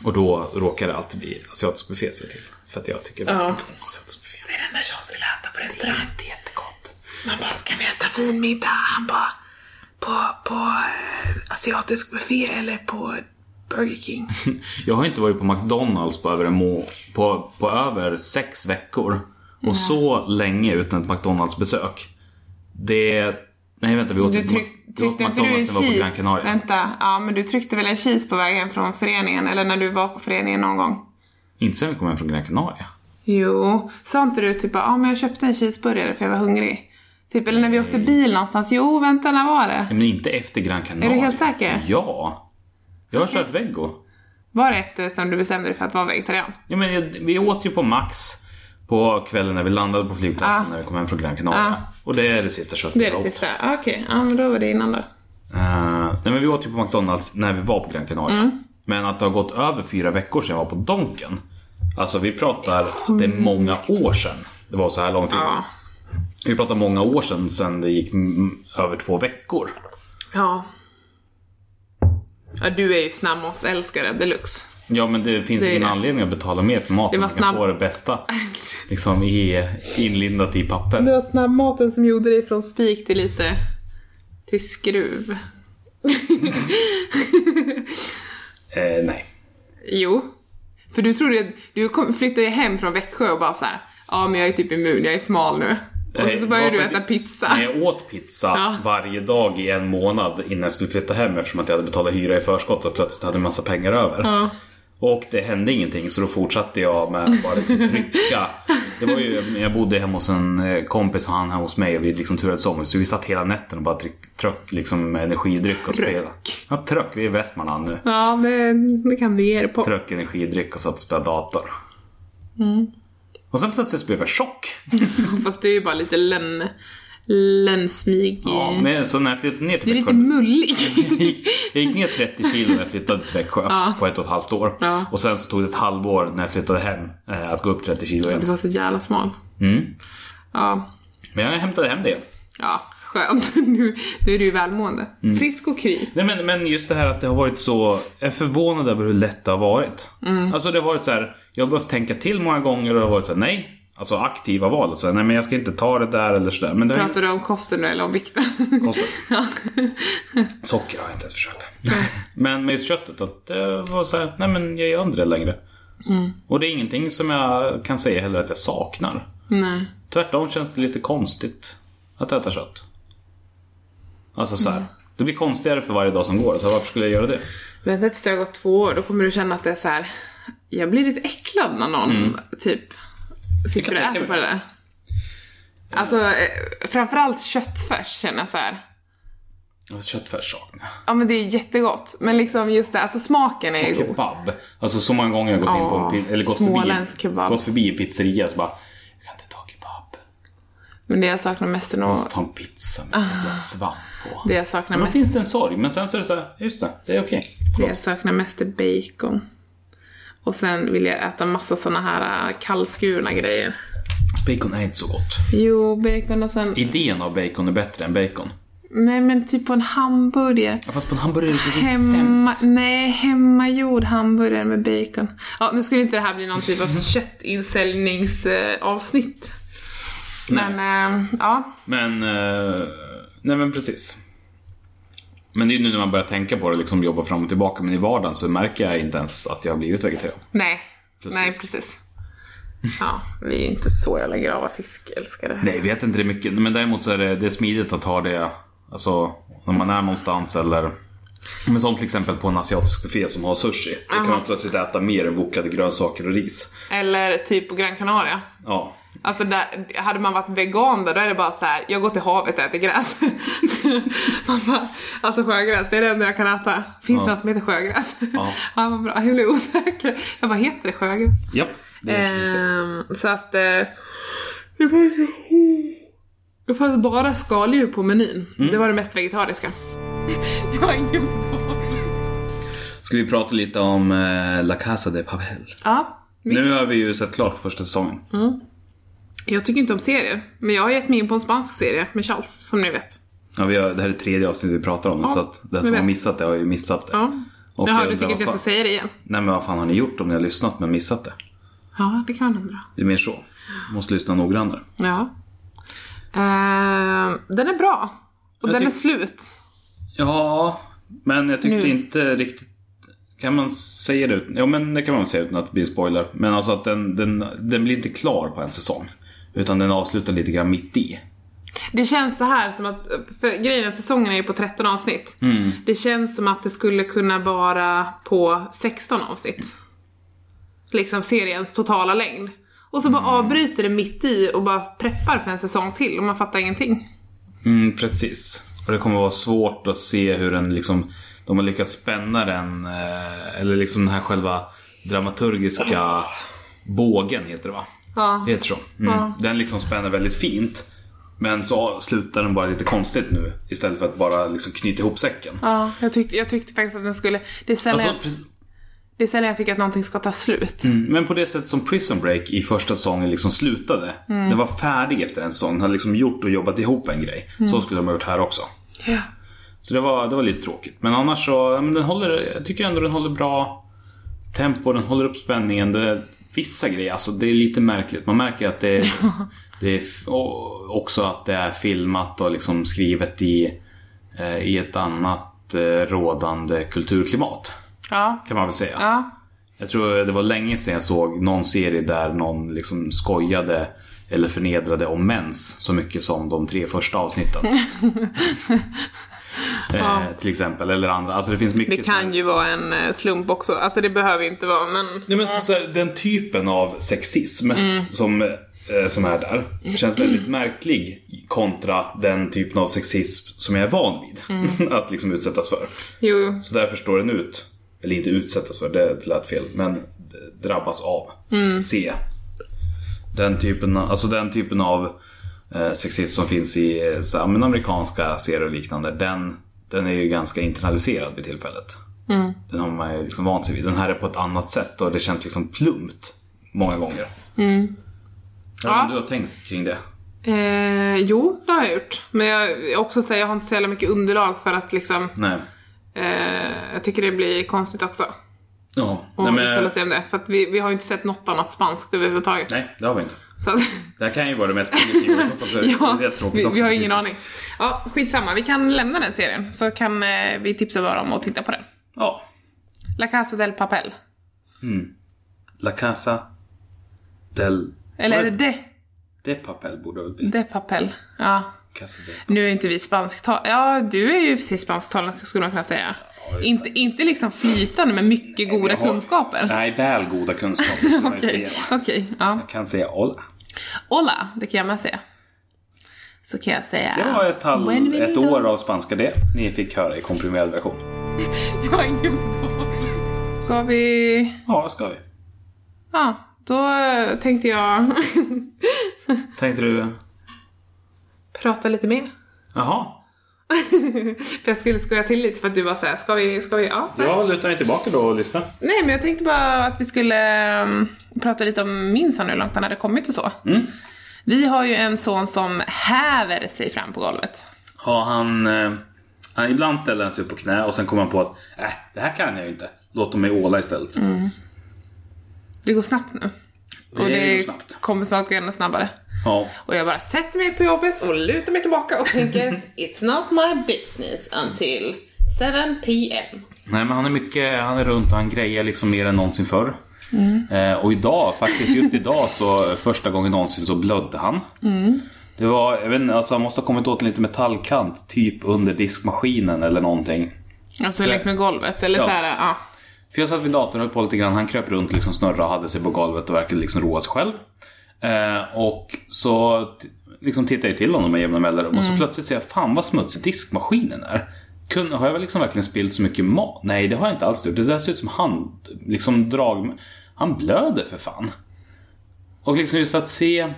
Speaker 1: Och då råkar det alltid bli asiatisk buffé ser jag till. För att jag tycker väldigt
Speaker 2: Ja.
Speaker 1: mycket om asiatisk buffé.
Speaker 2: Det är den där jag skulle äta på restaurang. Det är jättegott. Man bara, ska vi äta fin middag? Han bara, på, på eh, asiatisk buffé eller på Burger King?
Speaker 1: Jag har inte varit på McDonalds på över, en må- på, på över sex veckor. Och så länge utan ett McDonalds-besök. Det... Nej vänta, vi åt,
Speaker 2: Du tryck,
Speaker 1: vi åt
Speaker 2: tryckte inte du en
Speaker 1: McDonalds när vi var på Gran
Speaker 2: cheese?
Speaker 1: Canaria.
Speaker 2: Vänta, ja men du tryckte väl en cheese på vägen från föreningen? Eller när du var på föreningen någon gång?
Speaker 1: Inte sen vi kom hem från Gran Canaria.
Speaker 2: Jo, sa inte du typ bara, ja men jag köpte en cheeseburgare för jag var hungrig? Typ, eller när vi åkte bil någonstans. Jo, vänta, när var det?
Speaker 1: Nej, Men inte efter Gran Canaria.
Speaker 2: Är du helt säker?
Speaker 1: Ja. Jag har kört vego.
Speaker 2: Var det efter som du bestämde dig för att vara vegetarian?
Speaker 1: Ja, men jag- vi åt ju på Max på kvällen när vi landade på flygplatsen
Speaker 2: Ah.
Speaker 1: när vi kom hem från Gran Canaria. Och det är det sista köttet
Speaker 2: Det är
Speaker 1: jag
Speaker 2: det
Speaker 1: åt.
Speaker 2: sista? Ah, Okej, ja men då var det innan då.
Speaker 1: Eh, nej, men vi åt ju på McDonalds när vi var på Gran Canaria.
Speaker 2: Mm.
Speaker 1: Men att det har gått över fyra veckor sedan jag var på Donken. Alltså vi pratar, det är många år sedan. Det var så här lång tid.
Speaker 2: Ja.
Speaker 1: Vi pratar många år sedan, sedan det gick mm, över två veckor.
Speaker 2: Ja. Ja, du är ju snabbmatsälskare [laughs] deluxe.
Speaker 1: Ja men det finns
Speaker 2: Det
Speaker 1: ju
Speaker 2: är
Speaker 1: ingen
Speaker 2: det.
Speaker 1: anledning att betala mer för maten.
Speaker 2: Det
Speaker 1: Man
Speaker 2: var
Speaker 1: kan
Speaker 2: snabb-
Speaker 1: få det bästa liksom, i, inlindat i papper.
Speaker 2: Det var snabbmaten som gjorde dig från spik till lite... till skruv.
Speaker 1: Eh, nej.
Speaker 2: Jo. För du trodde ju- du kom, flyttade ju hem från Växjö och bara så här. ja men jag är typ immun, jag är smal nu. Och
Speaker 1: Nej,
Speaker 2: så började du
Speaker 1: Eh, varför-
Speaker 2: äta pizza.
Speaker 1: Nej, jag åt pizza
Speaker 2: Ja.
Speaker 1: varje dag i en månad innan jag skulle flytta hem eftersom att jag hade betalat hyra i förskott och plötsligt hade en massa pengar över.
Speaker 2: Ja.
Speaker 1: Och det hände ingenting så då fortsatte jag med att bara liksom trycka. Det var ju, jag bodde hemma hos en eh, kompis och han hemma hos mig och vi liksom turades om. Så vi satt hela natten och bara tryck, tryck liksom energidryck och spelade. Ja, tröck. Vi är i Västmanland nu.
Speaker 2: Ja, det, det kan vi ge er på.
Speaker 1: Tröck, energidryck och satt och spelade dator. Och sen plötsligt blev jag tjock.
Speaker 2: Fast Mm. det är ju bara lite lönn... lönnsmig.
Speaker 1: Ja, men så när jag flyttade ner till
Speaker 2: Du är lite
Speaker 1: Växjö- [laughs]
Speaker 2: mullig.
Speaker 1: Jag gick, jag gick ner 30 kilo när jag flyttade till Växjö på ett och ett halvt år.
Speaker 2: Ja.
Speaker 1: Och sen så tog det ett halvår när jag flyttade hem eh, att gå upp 30 kilo
Speaker 2: Du
Speaker 1: igen.
Speaker 2: var så jävla smal.
Speaker 1: Mm.
Speaker 2: Ja.
Speaker 1: Men jag hämtade hem det igen.
Speaker 2: Ja, skönt. [laughs] Nu, nu är du ju välmående.
Speaker 1: Mm.
Speaker 2: Frisk och kry.
Speaker 1: Nej, men, men just det här att det har varit så... Jag är förvånad över hur lätt det har varit. Alltså det har varit så här, jag har behövt tänka till många gånger och det har varit så här, nej. Alltså aktiva val. Alltså, nej men jag ska inte ta det där eller sådär. Men det har ju
Speaker 2: Pratar du om kosten nu eller om vikten?
Speaker 1: Kosten.
Speaker 2: [laughs] ja.
Speaker 1: Socker har jag inte ens försökt. [laughs] men med just köttet, att det var så här, nej men jag gör inte det längre.
Speaker 2: Mm.
Speaker 1: Och det är ingenting som jag kan säga heller att jag saknar.
Speaker 2: Nej.
Speaker 1: Tvärtom känns det lite konstigt att äta kött. Alltså så här.
Speaker 2: Mm.
Speaker 1: Det blir konstigare för varje dag som går, så varför skulle jag göra det?
Speaker 2: Vänta tills det har gått två år, då kommer du känna att det är så här. Jag blir lite äcklad när någon typ sitter och
Speaker 1: Mm. tänka
Speaker 2: äter på
Speaker 1: mig.
Speaker 2: det där. Alltså eh, framförallt köttfärs känner jag så här.
Speaker 1: Alltså, Köttfärs saknar jag.
Speaker 2: Ja men det är jättegott, men liksom just det, alltså smaken är ju god.
Speaker 1: Kebab. Alltså så många gånger jag har gått in på en
Speaker 2: Ja,
Speaker 1: pi- eller gått
Speaker 2: småländsk
Speaker 1: förbi,
Speaker 2: kebab.
Speaker 1: gått förbi en pizzeria så bara, jag kan inte ta kebab.
Speaker 2: Men det jag saknar mest är nog,
Speaker 1: Jag måste ta en pizza med jävla svamp på.
Speaker 2: det jag saknar
Speaker 1: Men då
Speaker 2: mest,
Speaker 1: finns det en sorg, men sen så är det så här, just det, det är okej.
Speaker 2: det
Speaker 1: Förlåt.
Speaker 2: jag saknar mest är bacon. Och sen vill jag äta massa såna här eh, kallskurna grejer.
Speaker 1: Bacon är inte så gott.
Speaker 2: Jo, bacon och sen...
Speaker 1: Idén av bacon är bättre än bacon.
Speaker 2: Nej men typ på en hamburgare.
Speaker 1: Ja, Fast på en hamburgare så är det
Speaker 2: Hemma,
Speaker 1: sämst.
Speaker 2: nej, hemmagjord hamburgare med bacon. Ja, nu skulle inte det här bli någon typ av
Speaker 1: [laughs]
Speaker 2: köttinsäljningsavsnitt. Men, eh, ja.
Speaker 1: Men, eh, nej men precis. Men det är ju nu när man börjar tänka på det, liksom jobba fram och tillbaka. Men i vardagen så märker jag inte ens att jag har blivit vegetarian.
Speaker 2: Nej.
Speaker 1: Precis.
Speaker 2: Nej, precis. Ja, vi är ju inte så jävla grava fiskälskare.
Speaker 1: Nej, jag vet inte det mycket. Men däremot så är det, det är smidigt att ha det, alltså när man är någonstans eller men som till exempel på en asiatisk buffé som har sushi. Då kan man plötsligt äta mer än wokade grönsaker och ris.
Speaker 2: Eller typ på Gran Canaria.
Speaker 1: Ja,
Speaker 2: Alltså där, hade man varit vegan där, då är det bara så här: jag går till havet och äter gräs. [laughs] man bara, alltså sjögräs, det är det enda jag kan äta. Finns det något som heter sjögräs?
Speaker 1: Ja.
Speaker 2: [laughs] ja vad bra, jag blev osäker. Jag bara, heter det sjögräs?
Speaker 1: japp. Det är precis det.
Speaker 2: Ehm, så att... Eh, det fanns ju- det fanns bara skaldjur på menyn.
Speaker 1: Mm.
Speaker 2: Det var det
Speaker 1: [laughs]
Speaker 2: mest vegetariska. jag har ingen boll.
Speaker 1: Ska vi prata lite om eh, La Casa de Papel?
Speaker 2: Ja, visst. Mm.
Speaker 1: Nu har vi ju sett klart första säsongen.
Speaker 2: Jag tycker inte om serier, men jag har gett mig in på en spansk serie med Charles, som ni vet.
Speaker 1: Ja, vi har, det här är tredje avsnittet vi pratar om,
Speaker 2: Ja,
Speaker 1: så att den
Speaker 2: jag
Speaker 1: som har
Speaker 2: vet.
Speaker 1: missat det har ju missat det.
Speaker 2: Ja.
Speaker 1: Och
Speaker 2: Jaha,
Speaker 1: jag
Speaker 2: du
Speaker 1: undrar
Speaker 2: tycker att jag
Speaker 1: vad
Speaker 2: ska
Speaker 1: fan-
Speaker 2: säga det igen?
Speaker 1: Nej men vad fan har ni gjort om ni har lyssnat men missat det?
Speaker 2: Ja, det kan man undra.
Speaker 1: Det är mer så. Måste lyssna noggrannare.
Speaker 2: Ja. Eh, den är bra. Och
Speaker 1: Jag
Speaker 2: den är
Speaker 1: tyck-
Speaker 2: slut.
Speaker 1: Ja, men jag tyckte
Speaker 2: Nu.
Speaker 1: inte riktigt... Kan man säga det ut? Jo, men det kan man väl säga utan att det blir en spoiler. Men alltså att den, den, den blir inte klar på en säsong. Utan den avslutar lite grann mitt i.
Speaker 2: Det känns så här som att, för grejen är att säsongen är ju på 13 avsnitt.
Speaker 1: Mm.
Speaker 2: Det känns som att det skulle kunna vara på 16 avsnitt. Liksom seriens totala längd. Och så bara
Speaker 1: Mm.
Speaker 2: avbryter det mitt i och bara preppar för en säsong till och man fattar ingenting.
Speaker 1: Mm, precis. Och det kommer vara svårt att se hur den liksom... De har lyckats spänna den, eh, eller liksom den här själva dramaturgiska bågen heter det va?
Speaker 2: Ja.
Speaker 1: Heter så. Mm. Den liksom spänner väldigt fint. Men så slutar den bara lite konstigt nu. Istället för att bara liksom knyta ihop säcken.
Speaker 2: Ja, jag tyckte, jag tyckte faktiskt att den skulle... Det är sällan,
Speaker 1: Alltså, Mm.
Speaker 2: jag,
Speaker 1: precis-
Speaker 2: det är sällan jag tycker att någonting ska ta slut.
Speaker 1: Men på det sätt som Prison Break i första säsongen liksom slutade.
Speaker 2: Mm.
Speaker 1: Den var färdig efter en säsong. Den hade liksom gjort och jobbat ihop en grej. Så
Speaker 2: Mm.
Speaker 1: skulle de ha gjort här också.
Speaker 2: Ja.
Speaker 1: Så det var, det var lite tråkigt. Men annars så, ja, men den håller, jag tycker ändå den håller bra tempo, den håller upp spänningen. Det, vissa grejer, alltså det är lite märkligt. Man märker att det, det är f- och också att det är filmat och liksom skrivet i, eh, i ett annat eh, rådande kulturklimat.
Speaker 2: Ja.
Speaker 1: Kan man väl säga.
Speaker 2: ja.
Speaker 1: Jag tror det var länge sedan jag såg någon serie där någon liksom skojade eller förnedrade om mens så mycket som de tre första avsnitten.
Speaker 2: [laughs]
Speaker 1: eh, till exempel, eller andra. Alltså det finns mycket
Speaker 2: Det kan ju vara en eh, slump också. Alltså det behöver inte vara men...
Speaker 1: Nej, men så, så här, den typen av sexism
Speaker 2: Mm.
Speaker 1: som, eh, som är där känns väldigt märklig kontra den typen av sexism som jag är van vid [laughs]
Speaker 2: Mm.
Speaker 1: att liksom utsättas för.
Speaker 2: Jo,
Speaker 1: Så därför står den ut, eller inte utsättas för, det lät fel, men d- drabbas av.
Speaker 2: Mm.
Speaker 1: Se. Den typen, alltså den typen av eh, sexism som finns i eh, så här, men amerikanska serier och liknande, den, den är ju ganska internaliserad vid tillfället.
Speaker 2: Mm.
Speaker 1: Den har man ju liksom vant sig vid. Den här är på ett annat sätt och det känns liksom plumpt många gånger. Jag vet inte
Speaker 2: Mm. Ja.
Speaker 1: om du har tänkt kring det?
Speaker 2: eh, jo det har jag gjort. Men jag, också säger, jag har inte så jävla mycket underlag för att liksom...
Speaker 1: Nej.
Speaker 2: Eh, jag tycker det blir konstigt också.
Speaker 1: Ja.
Speaker 2: Att
Speaker 1: Nej,
Speaker 2: uttala
Speaker 1: men,
Speaker 2: sig om det. För att vi, vi har ju inte sett något annat spanskt överhuvudtaget.
Speaker 1: nej, det har vi inte.
Speaker 2: Så att,
Speaker 1: Det här kan ju vara det mest progressiva i
Speaker 2: [laughs]
Speaker 1: så fall. Så
Speaker 2: ja,
Speaker 1: det är rätt tråkigt
Speaker 2: vi,
Speaker 1: också.
Speaker 2: vi har
Speaker 1: på
Speaker 2: ingen
Speaker 1: sikt.
Speaker 2: aning. Ja, skitsamma. Vi kan lämna den serien. Så kan eh, vi tipsa varandra om att titta på den.
Speaker 1: Ja.
Speaker 2: La Casa del Papel.
Speaker 1: La Casa del...
Speaker 2: Eller är det
Speaker 1: Var-
Speaker 2: de,
Speaker 1: De Papel borde det väl bli.
Speaker 2: de Papel? Ja.
Speaker 1: Casa de...
Speaker 2: Nu är inte vi spansktalande. Ja, du är ju precis spansktalande skulle man kunna säga.
Speaker 1: det är
Speaker 2: inte, inte liksom flytande, men mycket goda
Speaker 1: Jag har-
Speaker 2: [laughs] kunskaper.
Speaker 1: Nej, väl goda kunskaper skulle man ju
Speaker 2: [laughs] Okej,
Speaker 1: säga.
Speaker 2: okej, ja.
Speaker 1: Jag kan säga hola.
Speaker 2: Hola, det kan jag med säga. Så kan jag säga...
Speaker 1: Det var ett, halv,
Speaker 2: Buen
Speaker 1: ett
Speaker 2: venido.
Speaker 1: år av spanska det ni fick höra i komprimerad version.
Speaker 2: [laughs] Jag har ingen boll. Ska vi...
Speaker 1: Ja, det ska vi.
Speaker 2: Ja, då eh, tänkte jag [laughs]
Speaker 1: Tänkte du...
Speaker 2: prata lite mer.
Speaker 1: Jaha.
Speaker 2: För jag skulle skoja till lite för att du var såhär, ska vi, ska vi, ja.
Speaker 1: Jag lutar mig tillbaka då och lyssnar.
Speaker 2: Nej men jag tänkte bara att vi skulle ehm, prata lite om min son hur långt han hade kommit och så.
Speaker 1: Mm.
Speaker 2: Vi har ju en son som häver sig fram på golvet.
Speaker 1: Ja, han, eh, han... Ibland ställer han sig upp på knä och sen kommer han på att äh, det här kan jag ju inte. Låt dem mig åla istället.
Speaker 2: Det går snabbt nu. Mm. Och
Speaker 1: Det
Speaker 2: det
Speaker 1: går snabbt.
Speaker 2: kommer snart gå ännu snabbare.
Speaker 1: Ja.
Speaker 2: Och jag bara sätter mig på jobbet och lutar mig tillbaka
Speaker 1: [laughs]
Speaker 2: och tänker It's not my business until 7pm.
Speaker 1: Nej men han är mycket, han är runt och han grejer liksom mer än någonsin förr. Eh, och idag, faktiskt just idag så första gången någonsin så blödde han. Det var, jag vet inte, alltså han måste ha kommit åt en liten metallkant typ under diskmaskinen eller någonting.
Speaker 2: Alltså längs med golvet eller
Speaker 1: Ja.
Speaker 2: så såhär, ja.
Speaker 1: För jag satt vid datorn och höll på lite grann. Han kröp runt, liksom snurrade och hade sig på golvet och verkade liksom roa sig själv. Eh, och så t- liksom tittade jag till honom med jämna mellanrum och så plötsligt ser jag fan vad smutsig diskmaskinen är. Kun, har jag väl liksom verkligen spilt så mycket mat? Nej, det har jag inte alls gjort. Det där ser ut som hand, liksom drag... Han blöder för fan. Och liksom just att se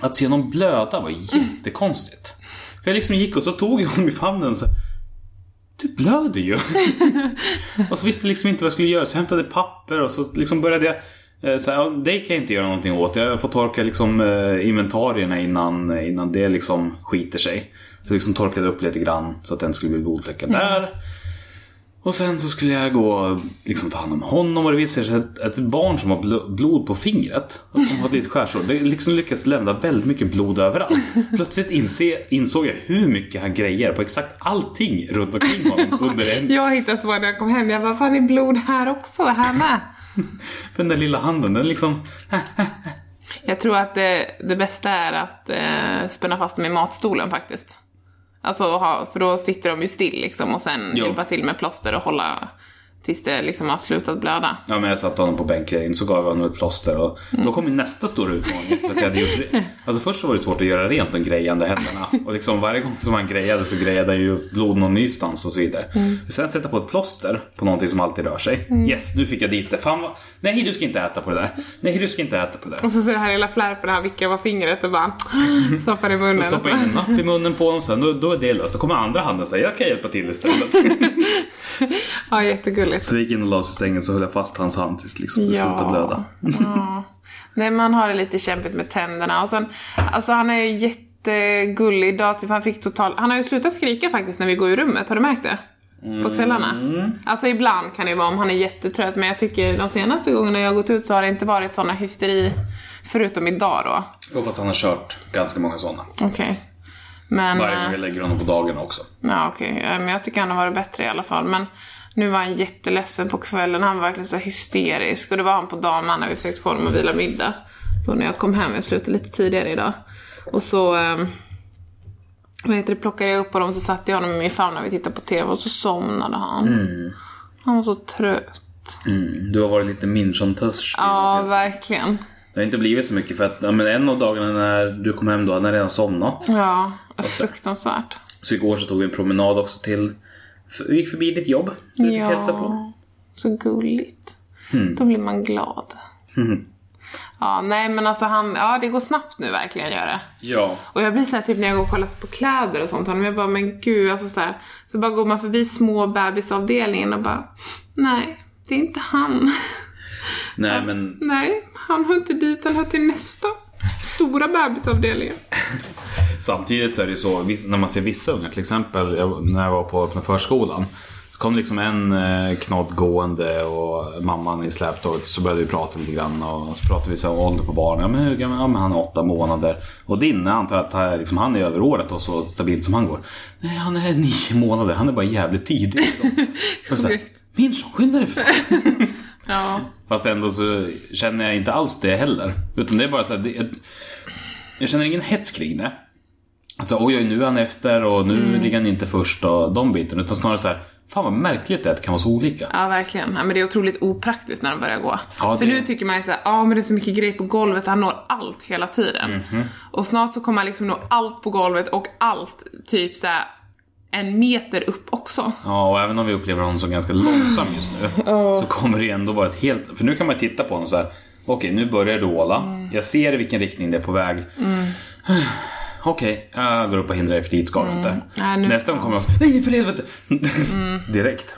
Speaker 1: att se honom blöda var jättekonstigt. För jag liksom gick och så tog jag honom i famnen och så Du blöder ju! [laughs] och så visste jag liksom inte vad jag skulle göra så jag hämtade papper och så liksom började jag eh, så här, ja, det kan jag inte göra någonting åt. Jag får torka liksom eh, inventarierna innan, innan det liksom skiter sig. Så jag liksom torkade upp lite grann så att den skulle bli blodfläckad där. Och sen så skulle jag gå och liksom ta hand om honom och det visade sig att ett barn som har bl- blod på fingret och som har ett litet skärsår, det liksom lyckas lämna väldigt mycket blod överallt. Plötsligt inse, insåg jag hur mycket han grejer på exakt allting runt omkring honom under en...
Speaker 2: Jag hittade så när jag kom hem. Jag bara, fan det är blod här också, här med.
Speaker 1: För den där lilla handen, den liksom...
Speaker 2: Jag tror att det, det bästa är att eh, spänna fast dem i matstolen faktiskt. Alltså, ha, för då sitter de ju still liksom och sen
Speaker 1: Jo.
Speaker 2: hjälpa till med plåster och hålla tills det liksom har slutat blöda.
Speaker 1: Ja, men jag satte honom på bänken, så gav jag honom ett plåster och då kom ju nästa stora utmaning. Så att jag hade gjort re- alltså, först så var det svårt att göra rent de grejande händerna och liksom varje gång som han grejade så grejade han ju blod någon nystans och så vidare. Sen sätta på ett plåster på någonting som alltid rör sig. Yes, nu fick jag dit det. Fan vad... Nej, du ska inte äta på det där. Nej, du ska inte äta på det där.
Speaker 2: Och så ser det här lilla flärpen, han vickar på fingret och bara [gasps] stoppar i munnen.
Speaker 1: Jag stoppar in en napp i munnen på honom sen, då, då är det löst. Då kommer andra handen säga jag kan hjälpa till [laughs] istället.
Speaker 2: [laughs] Ja, jättegulligt.
Speaker 1: så vi gick in och la oss i sängen så höll jag fast hans hand tills liksom, det slutade blöda.
Speaker 2: ja. Nej, man har det lite kämpigt med tänderna. Och sen, alltså han är ju jättegullig idag. Typ, han, fick total... han har ju slutat skrika faktiskt när vi går i rummet. Har du märkt det?
Speaker 1: Mm.
Speaker 2: På kvällarna. Alltså ibland kan det ju vara om han är jättetrött. Men jag tycker de senaste gångerna jag har gått ut så har det inte varit såna hysteri. Förutom idag då.
Speaker 1: Och fast han har kört ganska många sådana.
Speaker 2: Okej. Men...
Speaker 1: Varje gång
Speaker 2: eh,
Speaker 1: jag lägger honom på dagen också.
Speaker 2: Ja, okej. Eh, Men jag tycker han har varit bättre i alla fall. Men nu var han jätteledsen på kvällen. Han var verkligen så här hysterisk. Och det var han på dagen när vi försökte få honom att vila middag. Då när jag kom hem, jag slutade lite tidigare idag. Och så eh, vad heter det, plockade jag upp honom och så satte jag honom i min famn när vi tittade på TV och så somnade han. Han var så trött.
Speaker 1: Mm, du har varit lite minchon-törstig.
Speaker 2: Ja,
Speaker 1: de senaste-
Speaker 2: verkligen.
Speaker 1: det har inte blivit så mycket för att ja, men en av dagarna när du kom hem då hade han redan somnat.
Speaker 2: Ja, fruktansvärt.
Speaker 1: Så igår så tog vi en promenad också till, f- vi gick förbi ditt jobb. Så du fick hälsa på. Hmm.
Speaker 2: Så gulligt. Då blir man glad. Ja, nej men alltså han, ja det går snabbt nu verkligen gör det.
Speaker 1: Ja.
Speaker 2: Och jag blir såhär typ när jag går och kollar på kläder och sånt, men jag bara men gud alltså så här. Så bara går man förbi små bebisavdelningen och bara, nej det är inte han. [laughs]
Speaker 1: Nej men
Speaker 2: Nej, han hör inte dit, han hör till nästa stora bebisavdelningen.
Speaker 1: samtidigt så är det ju så, viss- när man ser vissa ungar, till exempel jag, när jag var på öppna förskolan. Så kom liksom en eh, knodd gående och mamman i släptåget så började vi prata lite grann och så pratade vi så här om ålder på barnen. Ja men hur gammal? Ja men han är åtta månader. Och din, jag antar att han, liksom, han är över året och så stabilt som han går. Nej han är nio månader, han är bara jävligt tidig liksom. Och så här,
Speaker 2: Korrekt.
Speaker 1: Minchon, skynda dig för fan."
Speaker 2: Ja.
Speaker 1: Fast ändå så känner jag inte alls det heller. Utan det är bara så här, det, jag, jag känner ingen hets kring det. Alltså, oj, oj, nu är han efter och nu
Speaker 2: Mm.
Speaker 1: ligger han inte först och de bitarna. Utan snarare så här, fan vad märkligt det är att det kan vara så olika.
Speaker 2: Ja, verkligen. Ja, men det är otroligt opraktiskt när de börjar gå.
Speaker 1: Ja,
Speaker 2: För
Speaker 1: det-
Speaker 2: nu tycker man ju såhär, ja men det är så mycket grejer på golvet, han når allt hela tiden.
Speaker 1: Mhm.
Speaker 2: Och snart så kommer han liksom nå allt på golvet och allt typ såhär en meter upp också.
Speaker 1: Ja, och även om vi upplever honom som ganska långsam just
Speaker 2: [laughs]
Speaker 1: nu så kommer det ju ändå vara ett helt... För nu kan man titta på honom så här. Okej, nu börjar det åla.
Speaker 2: Mm.
Speaker 1: Jag ser i vilken riktning det är på väg. [sighs] Okej, jag går upp och hindrar dig för dit ska du inte.
Speaker 2: Mm. Nej, nu- Mm.
Speaker 1: Nästa gång kommer jag och säger nej för helvete! [laughs] Direkt.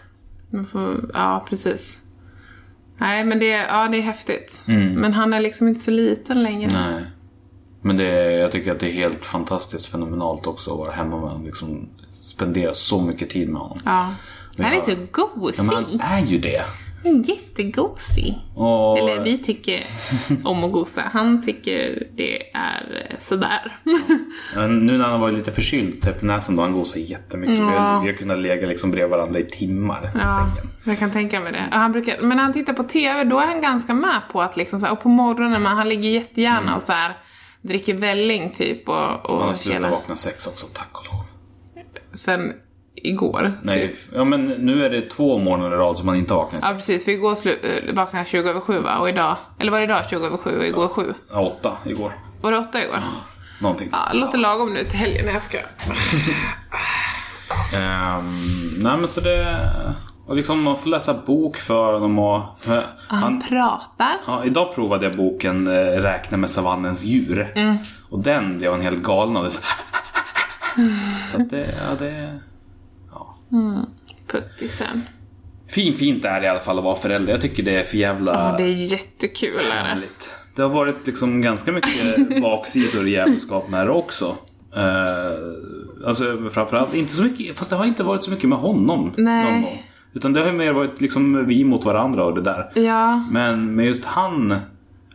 Speaker 2: Man får, ja, precis. Nej men det, är- ja, det är häftigt. Men han är liksom inte så liten längre.
Speaker 1: Mm. Nej. Men det, är- jag tycker att det är helt fantastiskt fenomenalt också att vara hemma med honom. Liksom, spendera så mycket tid med honom.
Speaker 2: Ja.
Speaker 1: Men
Speaker 2: han är
Speaker 1: jag-
Speaker 2: så
Speaker 1: Ja, men han
Speaker 2: gosig.
Speaker 1: är ju det.
Speaker 2: Han är jättegosig.
Speaker 1: Och,
Speaker 2: Eller vi tycker om att gosa. Han tycker det är eh, sådär. [laughs]
Speaker 1: Men Nu när han har varit lite förkyld, typ, täppt i näsan, då har han gosar jättemycket. Vi, har, vi har kunnat lägga liksom bredvid varandra i timmar i
Speaker 2: Ja,
Speaker 1: sängen.
Speaker 2: jag kan tänka mig det. Och han brukar, men när han tittar på TV då är han ganska med på att liksom så här, och på morgonen, men han ligger jättegärna
Speaker 1: Mm.
Speaker 2: och så här dricker välling typ och, och
Speaker 1: Han har slutat
Speaker 2: hela-
Speaker 1: vakna sex också, tack och lov.
Speaker 2: Sen igår.
Speaker 1: Nej,
Speaker 2: Typ.
Speaker 1: ja, men nu är det två månader i rad som han inte har vaknat.
Speaker 2: Ja precis, för igår slu- eh, vaknade han 20 över 7 va? Och idag, eller var det idag 20 över 7 och igår 7?
Speaker 1: Ja, åtta igår.
Speaker 2: Var det 8 igår?
Speaker 1: Någonting.
Speaker 2: Ja, låter lagom nu till helgen när jag ska...
Speaker 1: Mm. Ehm, nej men så det... Och liksom man får läsa bok för honom och...
Speaker 2: Han,
Speaker 1: Han,
Speaker 2: pratar.
Speaker 1: ja, idag provade jag boken eh, Räkna med savannens djur. Och den blev han helt galen av. Det, så så att det, ja, det...
Speaker 2: Puttisen.
Speaker 1: Fin, fint är det i alla fall att vara förälder. Jag tycker det är för jävla
Speaker 2: Ja, det är jättekul är det.
Speaker 1: härligt. Det har varit liksom ganska mycket baksidor i jävelskap med det också. Eh, Uh, alltså framförallt inte så mycket, fast det har inte varit så mycket med honom
Speaker 2: Nej.
Speaker 1: någon gång. Utan det har ju mer varit liksom vi mot varandra och det där.
Speaker 2: Ja.
Speaker 1: Men, men just han,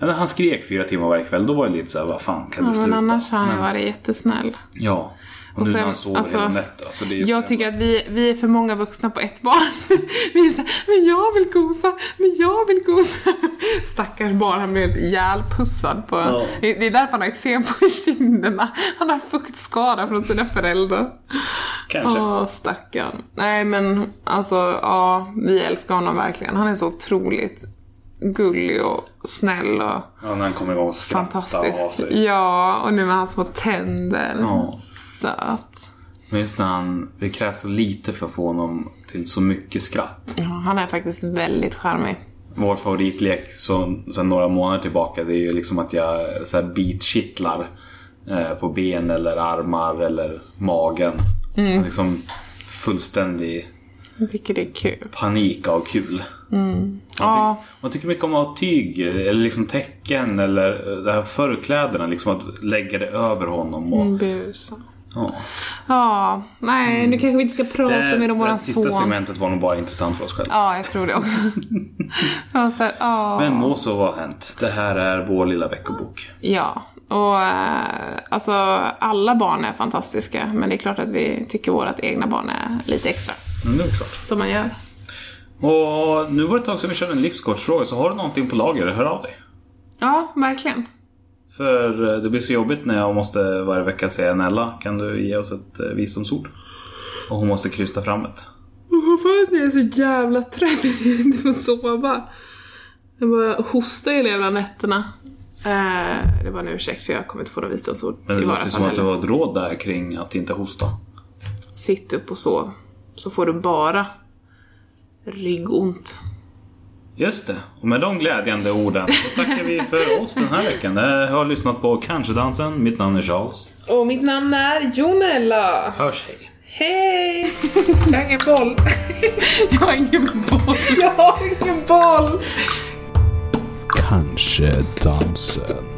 Speaker 1: eller han skrek fyra timmar varje kväll. Då var det lite så här, vad fan kan du
Speaker 2: Ja,
Speaker 1: sluta?
Speaker 2: men annars har han ju
Speaker 1: Men-
Speaker 2: varit jättesnäll.
Speaker 1: Ja. Och,
Speaker 2: Och
Speaker 1: nu när
Speaker 2: sen,
Speaker 1: han sover
Speaker 2: alltså,
Speaker 1: hela nätter. Alltså det är ju så
Speaker 2: Jag
Speaker 1: jävla-
Speaker 2: tycker att vi, vi är för många vuxna på ett barn. [laughs] Vi är så här, men jag vill gosa, men jag vill gosa. [laughs] Stackars barn, han blir helt ihjälpussad på...
Speaker 1: Ja.
Speaker 2: Det det är därför han har eksem på kinderna. Han har fuktskada från sina föräldrar.
Speaker 1: Kanske.
Speaker 2: Åh, stackarn. Nej, men alltså, ja, vi älskar honom verkligen. Han är så otroligt gullig och snäll och
Speaker 1: Ja, när han kommer igång och skrattar och har
Speaker 2: fantastisk.
Speaker 1: sig.
Speaker 2: Ja, och nu med hans små tänder.
Speaker 1: Ja.
Speaker 2: Söt.
Speaker 1: Men just när han, det krävs så lite för att få honom till så mycket skratt.
Speaker 2: Ja, han är faktiskt väldigt charmig.
Speaker 1: Vår favoritlek så, sen några månader tillbaka det är ju liksom att jag så här bitkittlar eh, på ben eller armar eller magen. Mm. Liksom fullständig
Speaker 2: Jag tycker det är kul.
Speaker 1: panik av kul. Man,
Speaker 2: Ja.
Speaker 1: tycker, man tycker mycket om att ha tyg eller liksom tecken eller eh, det här förkläderna. Liksom att lägga det över honom. Och,
Speaker 2: Mm. Busa.
Speaker 1: ja.
Speaker 2: Ja, nej nu kanske vi inte ska prata mer om
Speaker 1: Mm. det
Speaker 2: våran
Speaker 1: sista
Speaker 2: son.
Speaker 1: segmentet var nog bara intressant för oss själva.
Speaker 2: Ja, jag tror
Speaker 1: [laughs]
Speaker 2: det också. jag var så här, ja.
Speaker 1: Men må så vad har hänt. Det här är vår lilla veckobok.
Speaker 2: Ja, och eh, alltså alla barn är fantastiska men det är klart att vi tycker vårt egna barn är lite extra.
Speaker 1: Mm, det är klart.
Speaker 2: Som man gör.
Speaker 1: Och nu var det ett tag sedan vi körde en livskortsfråga, så har du någonting på lager, hör av dig.
Speaker 2: Ja, verkligen.
Speaker 1: För eh, det blir så jobbigt när jag måste varje vecka säga Nella, kan du ge oss ett eh, visdomsord? Och hon måste krysta fram ett.
Speaker 2: Varför att jag är så jävla trött [laughs] att jag inte får sova? Jag bara hostar ju hela nätterna. Eh, det var en ursäkt för jag kom inte på något visdomsord.
Speaker 1: Men det
Speaker 2: i våra
Speaker 1: låter ju
Speaker 2: fall
Speaker 1: som att
Speaker 2: heller.
Speaker 1: du har ett råd där kring att inte hosta.
Speaker 2: Sitt upp och sov. Så får du bara ryggont.
Speaker 1: Just det, och med de glädjande orden så tackar vi för oss den här veckan. Jag har lyssnat på Kanske-dansen, mitt namn är Charles.
Speaker 2: Och mitt namn är Jonella.
Speaker 1: Hörs hej!
Speaker 2: [laughs] Hej!
Speaker 3: Jag har ingen boll.
Speaker 2: [laughs] Jag har ingen boll.
Speaker 3: Jag har ingen boll.
Speaker 4: Kanske dansen.